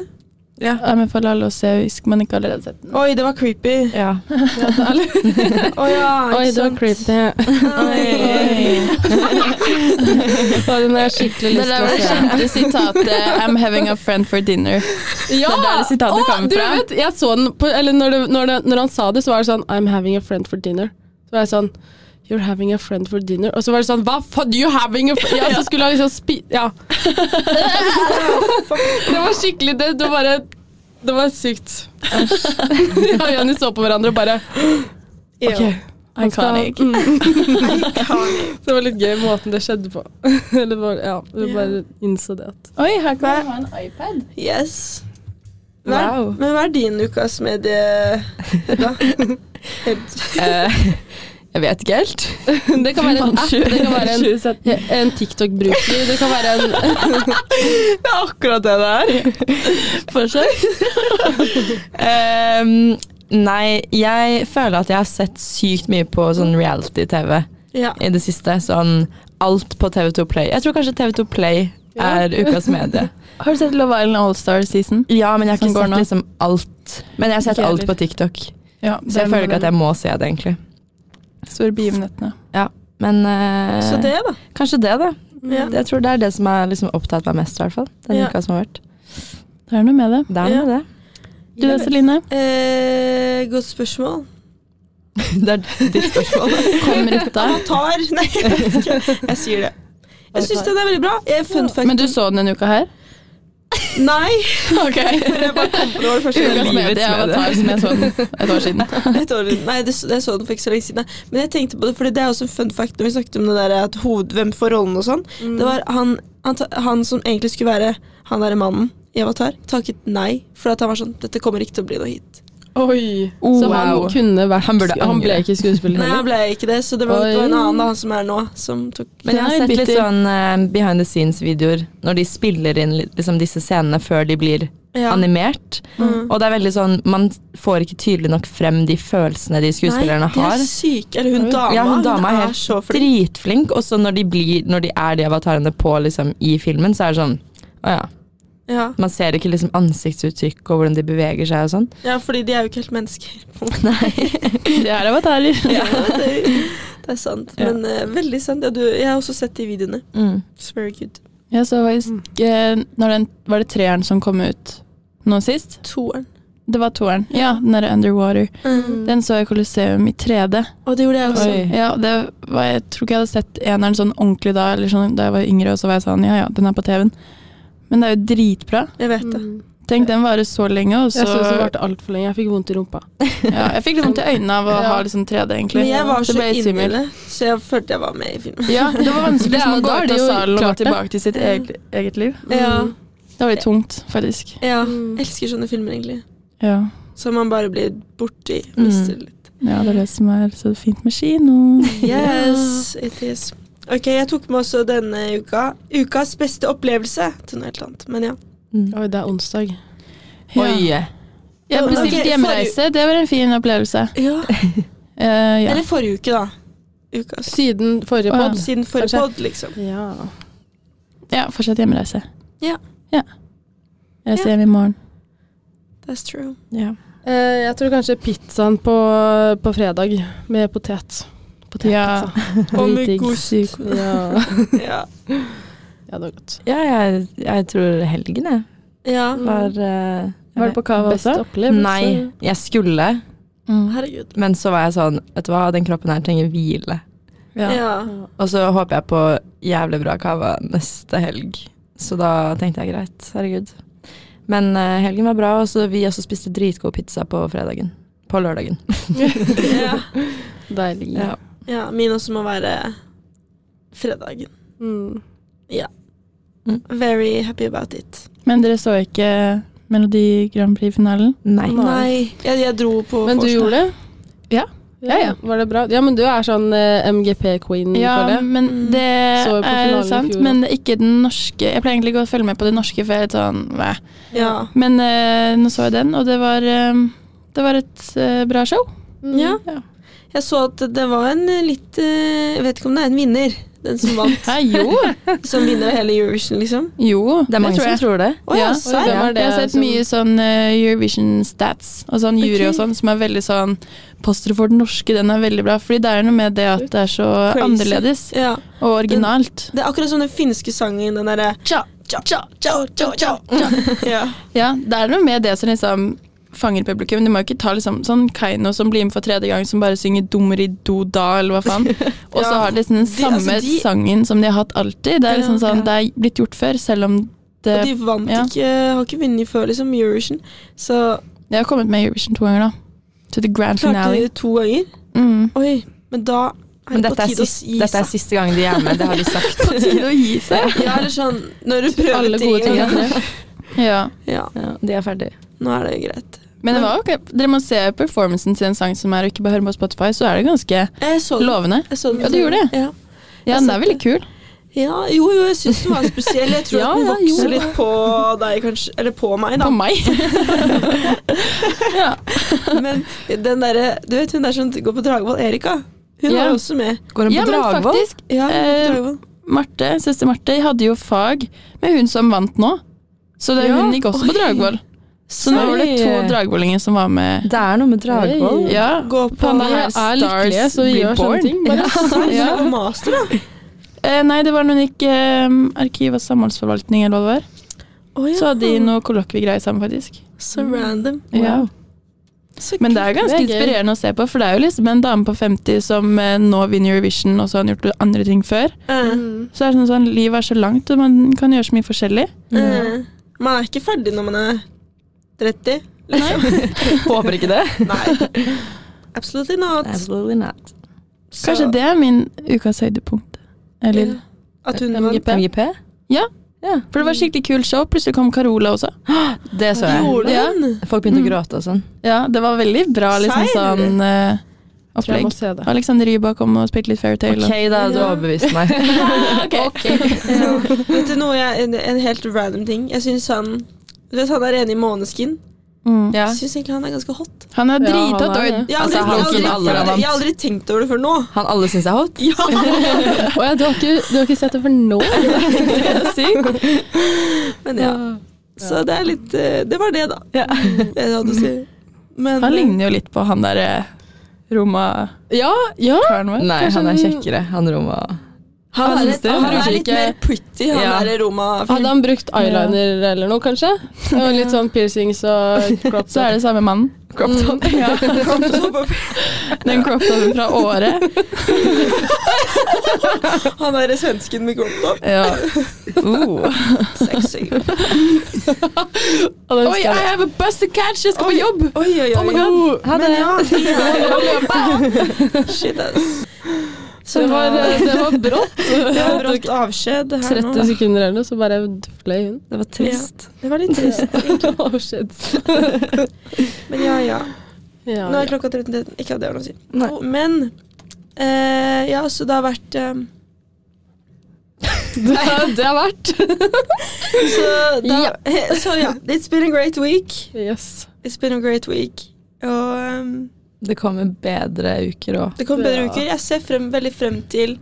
Jeg anbefaler alle å se hvis man ikke allerede har sett den. Oi, det var creepy. Ja. Å ja, Oi, ikke det var sant. creepy. *laughs* *laughs* Og den har jeg skikkelig Det lyst der til var å det se. kjente sitatet 'I'm having a friend for dinner'. Ja! Det er der det sitatet Å, kommer du fra. Vet, jeg så den på, eller når, det, når, det, når han sa det, så var det sånn I'm having a friend for dinner. Så var jeg sånn You're having a friend for dinner. Og så var det sånn Hva faen? You having a friend? Ja, så skulle han liksom spi... Ja. *laughs* det var skikkelig det. Det var bare Det var sykt. Jeg og Jenny så på hverandre og bare Ja. Ok. Iconic. Mm. Iconic. Det var litt gøy måten det skjedde på. *laughs* Eller det var, ja, vi bare innså det. At. Oi, her kan man ha en iPad. Yes. Hva er, Wow. Men hva er din ukas medie, Hedda? Helt Eh, *laughs* jeg vet ikke helt. Det kan være en app, det kan være en, 2017. en TikTok-bruker, det kan være en Det er akkurat det det er. Fortsett. Ehm, nei, jeg føler at jeg har sett sykt mye på sånn reality-TV Ja. i det siste. Sånn alt på TV2 Play. Jeg tror kanskje TV2 Play er ukas medie. *laughs* Har du sett Love Island All-Star Season? Ja, men jeg har Som ikke går sett nå. liksom alt. Men jeg har sett Ikke alt heller. på TikTok, Ja, så jeg føler ikke at jeg må se det, egentlig. Store begivenhetene. Men eh, Så det, da. kanskje det, da. Ja. Jeg tror det er det som har liksom opptatt meg mest, i hvert fall. Den Ja. uka som har vært. Det er noe med det. Det er Ja. noe med det. Du da, Celine? Eh, godt spørsmål. Det er ditt spørsmål. Kommer ut *laughs* da. Avatar? *laughs* Nei, jeg vet ikke. Jeg sier det. Jeg syns den er veldig bra. Eh, Fun fact Men du så den en uka her? Nei! Ok. *laughs* Jeg bare kom på det, var det første gang. Ukas Livets medieavatar medie. som jeg så den et år siden. *laughs* *laughs* Et år, nei, det, jeg så den for ikke så lenge siden. nei. Men jeg tenkte på det, fordi det er også en fun fact når vi snakket om det der at hoved, hvem får rollen og sånn. Det var han, han, ta- han som egentlig skulle være han derre mannen i Avatar, takket nei. For at han var sånn Dette kommer ikke til å bli noe hit. Oi! *laughs* Oh, så altså, han wow. kunne vært Han burde han ble angre. ikke skuespiller Nei, han heller. ble ikke det, så det var, det var en Oi. annen da, han som er nå, som tok Men jeg Den er har sett litt litt bitter. sånn eh, behind the scenes-videoer når de spiller inn litt- liksom, disse scenene før de blir ja. animert. Og det er veldig sånn, man får ikke tydelig nok frem de følelsene de skuespillerne Nei, har. de er syke. Eller hun Oi. dama. Ja, hun dama er er helt så flink. Dritflink, og så når de, blir, når de er de avatarene på liksom, i filmen, så er det sånn Å ja. Ja. Man ser ikke liksom ansiktsuttrykk og hvordan de beveger seg og sånn. ja, fordi de er jo ikke helt mennesker. *laughs* *laughs* Det er avatarer. Ja, det, det er sant. Ja. Men eh, veldig sant. Ja, du, jeg har også sett de videoene. It's very good. Jeg så Mm. faktisk eh, når den, Var det treeren som kom ut nå sist? Toeren. Det var toeren. Ja, den derre Underwater. Mm. Den så jeg i Colosseum i 3D. Og det gjorde jeg også. Oi. Ja, det var, jeg tror ikke jeg hadde sett eneren sånn ordentlig da, eller sånn, da jeg var yngre, og så var jeg sånn, ja ja, den er på TV-en. Men det er jo dritbra. Jeg vet det. Mm. Tenk, den varer så lenge, og så Jeg synes det varte altfor lenge. Jeg fikk vondt i rumpa. *laughs* ja, Jeg fikk litt vondt i øynene av å Ja. ha liksom 3D, egentlig. Men jeg var Det så ble jeg inni svimmel. det, så jeg følte jeg var med i filmen. *laughs* Ja, det var vanskelig Det er- liksom, å da gå er ut det av jo salen og gå klart det. tilbake til sitt eget, eget liv. Ja, Mm. Det var litt tungt, faktisk. ja. Mm. Jeg elsker sånne filmer, egentlig. Ja, Som man bare blir borti. Mister litt. ja det er det som er så fint med *laughs* kino. Yes, it is. Ok, Jeg tok med også denne uka ukas beste opplevelse til noe helt annet. Men ja. Oi, det er onsdag. Ja. Mm. Oi. Jeg bestilte Ok, hjemreise, det var en fin opplevelse. Eh, ja. Eller forrige uke, da. Ukas. Siden forrige Å, ja. pod. Siden forrige Kanskje. pod, liksom. Ja. ja, fortsatt hjemreise. Ja. ja. Jeg Ja. ser hjem i morgen. That's true. Ja. Eh, jeg tror kanskje pizzaen på, på fredag med potet. Ja. *laughs* Potetpizza. Og med Dritdigg. gost. Ja. Ja. ja, det var godt. ja, jeg, jeg tror helgen, jeg. ja. Var, eh, Var det på kava Beste også? opplevelse. Nei, jeg skulle, Mm. Herregud. men så var jeg sånn Vet du hva, den kroppen her trenger hvile. Ja. Ja. Og så håper jeg på jævlig bra cava neste helg. Så da tenkte jeg greit, herregud. Men eh, helgen var bra, og så vi også spiste dritgod pizza på fredagen. På lørdagen. ja. Deilig. Ja. ja. Min også må være fredagen. Mm. Very happy about it. Men dere så ikke Melodi Grand Prix-finalen? Nei. Nei. Jeg, jeg dro på Men du vorspiel. gjorde det? Ja. Ja, ja. Var det bra? Ja, men du er sånn eh, MGP-queen, føler Ja, jeg. men Mm. det Så jo på er finalen i sant. fjor, da. Men det er ikke den norske. Jeg pleier egentlig ikke å følge med på det norske, for jeg er litt sånn meh. Ja. Men eh, nå så jeg den, og det var, eh, det var et eh, bra show. ja. Ja. Jeg så at det var en litt eh, Jeg vet ikke om det er en vinner, den som vant. Hæ, jo. som vinner av hele Eurovision, liksom. Jo, Det er mange som tror det. Å ja, Ja. serr? Hvem er det jeg har sett som- mye sånn eh, Eurovision-stats og sånn jury og Ok. sånn som er veldig sånn Posteret for den norske, den er veldig bra. Fordi det er noe med det at det er så Crazy. annerledes Ja. og originalt. Det er akkurat som den finske sangen, den derre Tja, tja, tja, tja, tja. ja. Ja, det er noe med det som liksom fanger publikum. Du må jo ikke ta liksom sånn Keiino som blir med for tredje gang, som bare synger 'Dummeri do da', eller hva faen. *laughs* Og så Ja. har de liksom den De- samme altså, de- sangen som de har hatt alltid. Det er liksom Ja, sånn, ja. det er blitt gjort før, selv om det Og de vant Ja. ikke Har ikke vunnet før, liksom, Eurovision. Så Jeg har kommet med i Eurovision to ganger, da. To the grand klarte de finale. det to ganger. Mm. Oi, men da er Men det dette på er, tide å sist, gi dette er seg. siste gang de er med, det har de sagt. På tide å gi seg. *laughs* Ja, eller sånn Når du prøver Alle gode ting. ting. er tre. *laughs* Ja. Ja, *laughs* Ja, de er ferdige. nå er det greit. Men det var ok. Dere må se performancen til en sang som er, og ikke bare høre på Spotify, så er det ganske Jeg så den. lovende. Jeg så den. Ja, du gjorde Ja. Ja, den er veldig kul. ja, jo, jo, jeg syns den var spesiell. *laughs* Jeg tror Ja, at den ja, jo. vokser litt på deg, kanskje. Eller på meg, da. På meg. *laughs* ja. Men den derre Du vet hun der som går på Dragvoll, Erika? Hun Ja. var jo også med. Går hun ja, på men Dragvoll? faktisk, Ja, hun var Eh, på Dragvoll. Marte, søster Marte hadde jo fag med hun som vant nå. Så det, Ja, hun gikk også på Dragvoll. Så nå var det to dragvollinger som var med. Det er noe med Dragvoll. Oi. Ja. Eh, Gå på Faen, Vi det ja. her er lykkelige, Stars så vi gjør Reborn. sånne ting. Bare *laughs* Ja. på master, da. Eh, nei, det var når hun gikk eh, arkiv- og samholdsforvaltning, eller hva det var. Å ja. Så hadde de noe kollokviegreier sammen, faktisk. Så random. Ja. Så Men det er ganske Det er gøy. inspirerende å se på, for det er jo liksom en dame på 50 som eh, nå vinner Eurovision, og så har hun gjort andre ting før. kult. Eh, Mm. Så er det sånn, sånn livet er så langt, og man kan gjøre så mye forskjellig. eh. Man er ikke ferdig når man er 30. Liksom. *laughs* Håper ikke det. Nei. Absolutely not. Absolutely not. Så- Kanskje det er min ukas høydepunkt. Eller Ja. At hun vant. MGP. MGP? Ja. Ja, For det var skikkelig kult show. Plutselig kom Carola også. det så jeg. Gjorde Ja. hun? Folk begynte å Mm. gråte og sånn. Ja, det var veldig bra liksom Seil. sånn eh, Tror jeg må opplegg. se det. Alexander Rybak kom og spilte litt Fairytale. Ok, da du Ja. overbeviste meg. Ja. Eh, Vet du noe, jeg, en, en helt random ting. Jeg syns han du vet, Han er enig i Måneskin. Mm. Ja. Jeg syns egentlig han er ganske hot. Han er Ja, drithot. han er og- det. Jeg har aldri, Altså, han jeg har aldri, kunne alle ha vant. jeg har aldri tenkt over det før nå. *laughs* Han alle syns er hot? Ja! Å ja, du har, ikke, du har ikke sett det for nå? Det er sykt. Men ja. Så det er litt eh, Det var det, da. Ja. Det jeg hadde å si. Men eh, Han ligner jo litt på han eh, derre Roma-karen Ja, ja. vår. Nei, Kanskje han er han- kjekkere. Han Roma. han, Han er, syns litt- det. han Bruker er litt ikke- mer pretty, han Ja. derre Hadde Roma-fyren. han brukt eyeliner eller noe, kanskje? Og litt sånn piercings og crop Så er det samme mannen. Crop top. *laughs* Ja. Den crop-toppen fra året. Han derre svensken med crop top. Ja. Uh. Sexy. Og det Oi, husker I jeg. have a bus to catch! Jeg skal på jobb! Oi, oi, oi. Oh my god. *laughs* Ha Men det. ja, ja. *laughs* Shit, ass. Så det, var, eh, ja, det var *laughs* brått. det var eh, brått avskjed her 30 nå. sekunder eller noe, så bare fløy hun. Det var trist. Det var litt *laughs* trist. Oh, shit. Men ja, ja. Ja, Nå er ja. klokka 13.13. Ikke at det har noe å si. Nei. Jo, Men eh, ja, så det har vært eh, Det, *laughs* det er verdt. så, da, *laughs* så ja, it's been a great week. Yes. It's been a great week. Og ehm, Det kommer bedre uker òg. det kommer bedre Ja. uker. Jeg ser frem, veldig frem til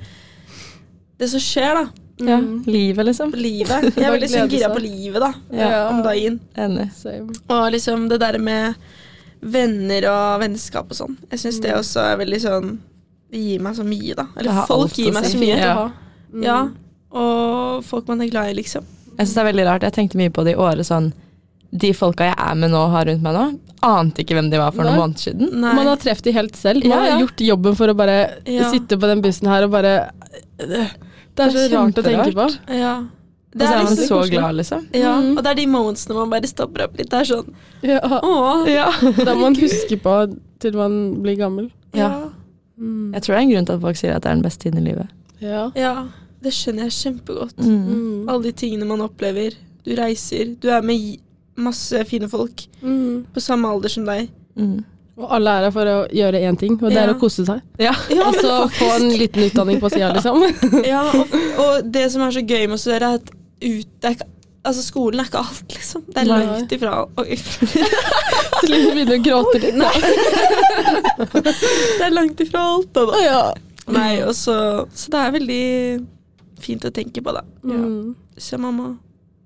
det som skjer, da. Ja. Mm. Livet, liksom. Livet. Jeg er Bare veldig sånn glede gira seg. på livet, da. Ja. Om dagen. Enig. Same. Og liksom det der med venner og vennskap og sånn. Jeg syns det også er veldig sånn Det gir meg så mye, da. Mm. Det Eller har folk alt å gir meg si. så mye. Ja. Mm. Ja. Og folk man er glad i, liksom. Jeg synes det er veldig rart. Jeg tenkte mye på det i året sånn De folka jeg er med nå, har rundt meg nå, ante ikke hvem de var for noen Nei. måneder siden. Nei. Man har truffet de helt selv. Man Ja, ja. har gjort jobben for å bare Ja. sitte på den bussen her og bare eh, Det er så Det er rart å tenke på. kjemperart. ja. Og Det så er er man liksom så koselig. glad, liksom. Ja. Mhm. Og det er de momentsene man bare stopper opp litt. Det er sånn Ja. Åh. Ja. Da må man huske på til man blir gammel. *laughs* Ja. Jeg tror det er en grunn til at folk sier at det er den beste tiden i livet. Ja. ja. Det skjønner jeg kjempegodt. Mm. Alle de tingene man opplever. Du reiser. Du er med i masse fine folk Mm. på samme alder som deg. Mm. Og alle er her for å gjøre én ting, og det er Ja. å kose seg. Ja. altså, Ja, *laughs* Og så Altså, få en liten utdanning på sida, liksom. *laughs* Ja, og, og det som er så gøy med å studere, er at ut, det er ikke, altså, skolen er ikke alt, liksom. Det er Nei. langt ifra. Oi. Så Line begynner å gråte litt. Det er langt ifra alt, da. da. Ja. Nei, og så, så det er veldig fint å tenke på, da. Mm. Så man må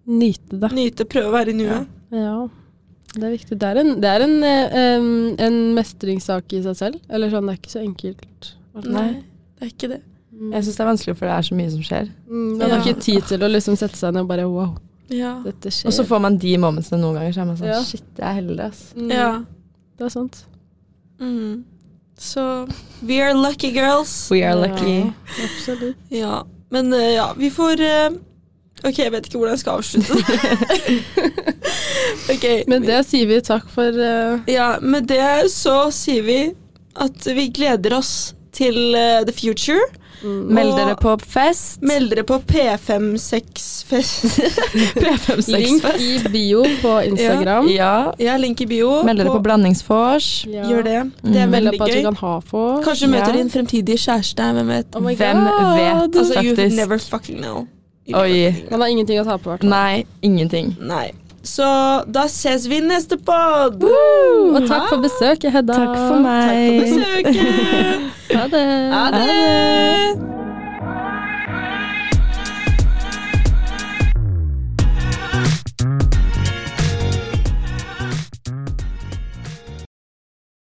Nyte det. nyte, prøve å være i nuet. Ja. Det er viktig. Det er en, det er en, eh, em, en mestringssak i seg selv. Eller sånn, det er ikke så enkelt. Nei, det er ikke det. Mm. Jeg syns det er vanskelig, for det er så mye som skjer. Mm, Man har Ja. ikke tid til å liksom sette seg ned og bare wow, Ja. dette skjer. Og så får man de momentsene noen ganger, så er man sånn Ja. shit, jeg er heldig, ass. Mm, ja. Det er sant. Mm. Så we are lucky girls. We are lucky. Ja, absolutt. Ja. Men eh, ja, vi får eh, OK, jeg vet ikke hvordan jeg skal avslutte det. *laughs* *laughs* Ok, Med det sier vi takk for eh, Ja, med det så sier vi at vi gleder oss til eh, the future. mm, Meld dere på fest. *laughs* Meld dere på P56fest. Link P56-fest. i bio på Instagram. Ja. *laughs* Ja, link i bio. Meld dere på blandingsvors. Ja. Gjør det. Det er Mm. Meld veldig deg på at du gøy. kan ha på. Kanskje du møter Ja. din fremtidige kjæreste, hvem vet. Oh my Hvem God. vet, Altså, you faktisk. never fucking know. You never Oi. fucking know. Man har ingenting å ta på, i hvert fall. Nei, ingenting. Nei. Så da ses vi i neste pod! Og takk for besøket, Hedda. Takk for meg. Takk for besøket! Ha det. Ha det!